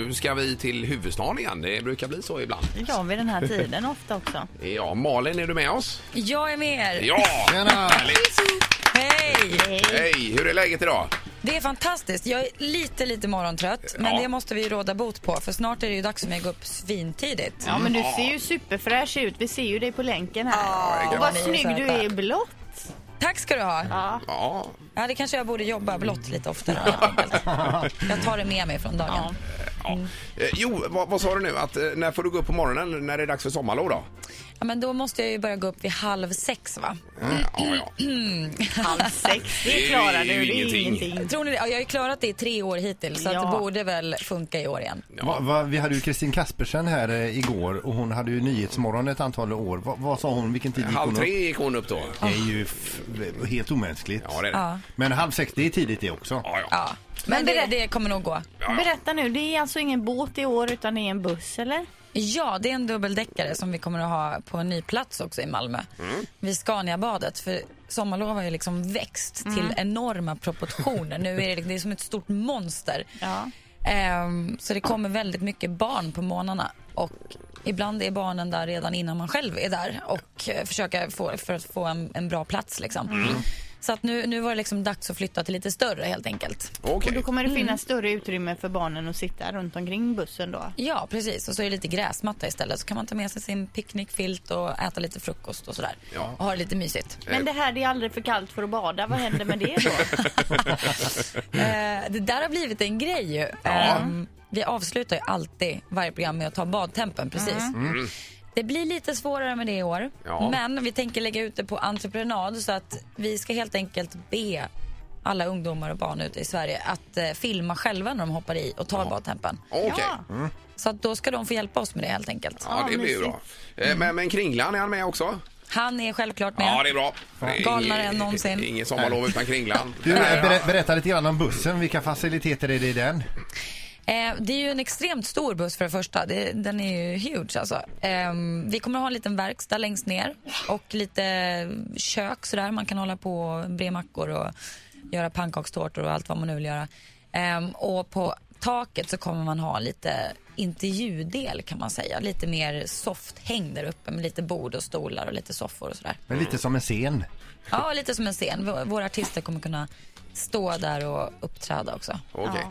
nu ska vi till huvudstaden igen. Det brukar bli så ibland. Ja, vid den här tiden ofta också. Ja, Malin, är du med oss? Jag är med er. Ja! Tjena! Hej! Hej, hur är läget idag? Det är fantastiskt. Jag är lite, lite morgontrött, men Ja. det måste vi råda bot på för snart är det ju dags för mig att gå upp svintidigt. Ja, men du ser ju superfräsch ut. Vi ser ju dig på länken här. Ja, Och vad ni är snygg du söta. är i blått. Tack ska du ha. Ja, Ja, det kanske jag borde jobba blått lite oftare. helt enkelt. Jag tar det med mig från dagen. ja. Eh, Jo, vad, vad sa du nu? Att, eh, när får du gå upp på morgonen när det är dags för sommarlov då? Ja, men då måste jag ju börja gå upp vid halv sex, va? Eh, Ja, ja. Halv sex, Det är det ju- klarar du. det är ju Det är ingenting. ingenting. Tror ni det? Ja, jag har ju klarat det i tre år hittills, så att Mm. Ja. det borde väl funka i år igen. Va, va, vi hade ju Kristin Kaspersen här eh, igår och hon hade ju Nyhetsmorgon ett antal år. Va, vad sa hon? Vilken tid gick Halv hon tre upp? gick hon upp då. Det är ju f- helt omänskligt. Ja, det är det. Ja. Men halv sex, det är tidigt det också. Ja, ja. Ja. Men det, det kommer nog gå. Berätta nu, det är alltså ingen båt i år utan det är en buss eller? Ja, det är en dubbeldäckare som vi kommer att ha på en ny plats också i Malmö. Vid Scaniabadet. För sommarlov har ju liksom växt till enorma proportioner. Nu är det, det är som ett stort monster. Ja. Ehm, så det kommer väldigt mycket barn på morgnarna. Och ibland är barnen där redan innan man själv är där och eh, försöker få, för att få en, en bra plats. Liksom. Så att nu, nu var det liksom dags att flytta till lite större helt enkelt. Och Okej. då kommer det finnas större utrymme för barnen att sitta runt omkring bussen då. Ja, precis. Och så är det lite gräsmatta istället. Så kan man ta med sig sin picknickfilt och äta lite frukost och sådär. Ja. Och ha det lite mysigt. Men det här det är alldeles för kallt för att bada. Vad händer med det då? Mm. Eh, det där har blivit en grej ju. Ehm, vi avslutar ju alltid varje program med att ta badtempen, precis. Det blir lite svårare med det i år. Mm. Ja. Men vi tänker lägga ut det på entreprenad så att vi ska helt enkelt be alla ungdomar och barn ute i Sverige att eh, filma själva när de hoppar i och tar badtempen. Okej. Ja. Så att då ska de få hjälpa oss med det helt enkelt. Ja, det blir ju bra. Eh, Men, men Kringlan, är han med också? Han är självklart med. Ja, det är bra. Det är Galnare inget- än någonsin. Inget sommarlov utan Kringlan. Du, eh, berä, berätta lite grann om bussen. Vilka faciliteter är det i den? Eh, det är ju en extremt stor buss för det första. Det, den är ju huge alltså. Eh, vi kommer ha en liten verkstad längst ner och lite kök sådär. Man kan hålla på och bre mackor och göra pannkakstårtor och allt vad man nu vill göra. Eh, och på taket så kommer man ha lite intervjudel kan man säga. Lite mer soft häng där uppe med lite bord och stolar och lite soffor och sådär. Men lite som en scen. Ja, lite som en scen. V- Våra artister kommer kunna stå där och uppträda också. Okej.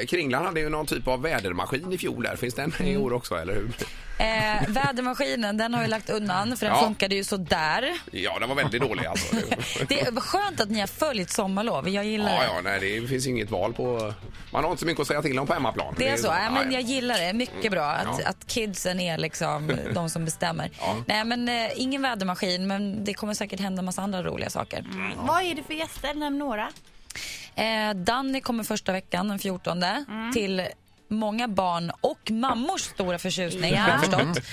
Eh, Kringlan hade ju någon typ av vädermaskin i fjol där. Finns den i år också, eller hur? Eh, vädermaskinen, den har vi lagt undan för den Ja. funkade ju sådär. Ja, den var väldigt dålig alltså. Det är skönt att ni har följt sommarlov. Jag gillar Ja, det. ja, nej, det finns ju inget val på... Man har inte så mycket att säga till om på hemmaplan. Det är så. Nej, men jag Nej. gillar det. Mycket bra att, Ja. att kidsen är liksom de som bestämmer. Nej, men eh, ingen vädermaskin, men det kommer säkert hända massa andra roliga saker. Vad är det för gäster? Nämn några. Eh, Danny kommer första veckan, den 14, till många barn och mammors stora förtjusning har jag förstått.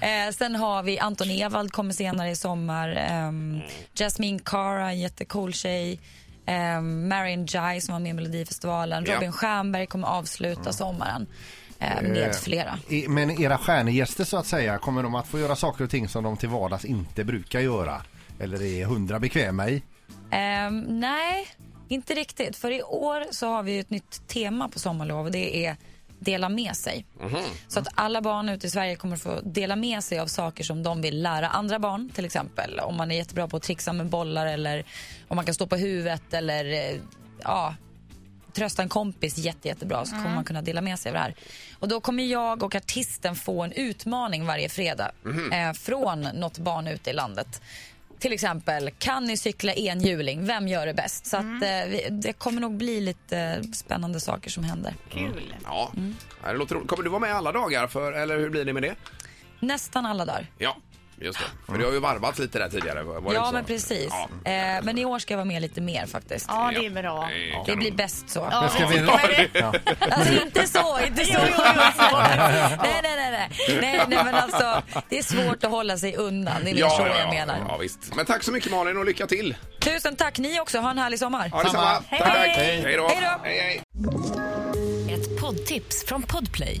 eh, sen har vi Anton Ewald kommer senare i sommar. ehm, Jasmine Cara, en jättecool tjej. Um, Marion Jai som var med i Melodifestivalen. Ja. Robin Stjernberg kommer avsluta sommaren eh, med flera. I- Men era stjärngäster så att säga, kommer de att få göra saker och ting som de till vardags inte brukar göra? Eller är hundra bekväma i? Ehm, nej, inte riktigt. För i år så har vi ju ett nytt tema på sommarlov och det är dela med sig. Så att alla barn ute i Sverige kommer få dela med sig av saker som de vill lära andra barn. Till exempel om man är jättebra på att trixa med bollar eller om man kan stå på huvudet eller eh, ja, trösta en kompis jätte, jättebra så Mm. kommer man kunna dela med sig av det här. Och då kommer jag och artisten få en utmaning varje fredag Mhm. eh, från något barn ute i landet. Till exempel, kan ni cykla enhjuling? Vem gör det bäst? Så Mm. att, eh, vi, det kommer nog bli lite eh, spännande saker som händer. Kul. Ja. Mm. Ja, Det låter roligt. Kommer du vara med alla dagar, för, eller hur blir det med det? Nästan alla dagar. Ja, just det. För det har ju varvats lite där tidigare. Var det inte Ja, så? men precis. Ja. Eh, men i år ska jag vara med lite mer faktiskt. Ja, det är bra. Det är Det kanon. blir bäst så. Ja, ska vi vi- tycker med det. Alltså inte så, inte så. nej, nej, nej, nej. nej, nej men alltså, det är svårt att hålla sig undan. Det är mer så jag menar. Ja, visst. Men tack så mycket Malin och lycka till. Tusen tack. Ni också. Ha en härlig sommar. Ja, detsamma. Samma. Tack, tack. Hej. Hej då. Hej då. Hej, hej. Ett poddtips från Podplay.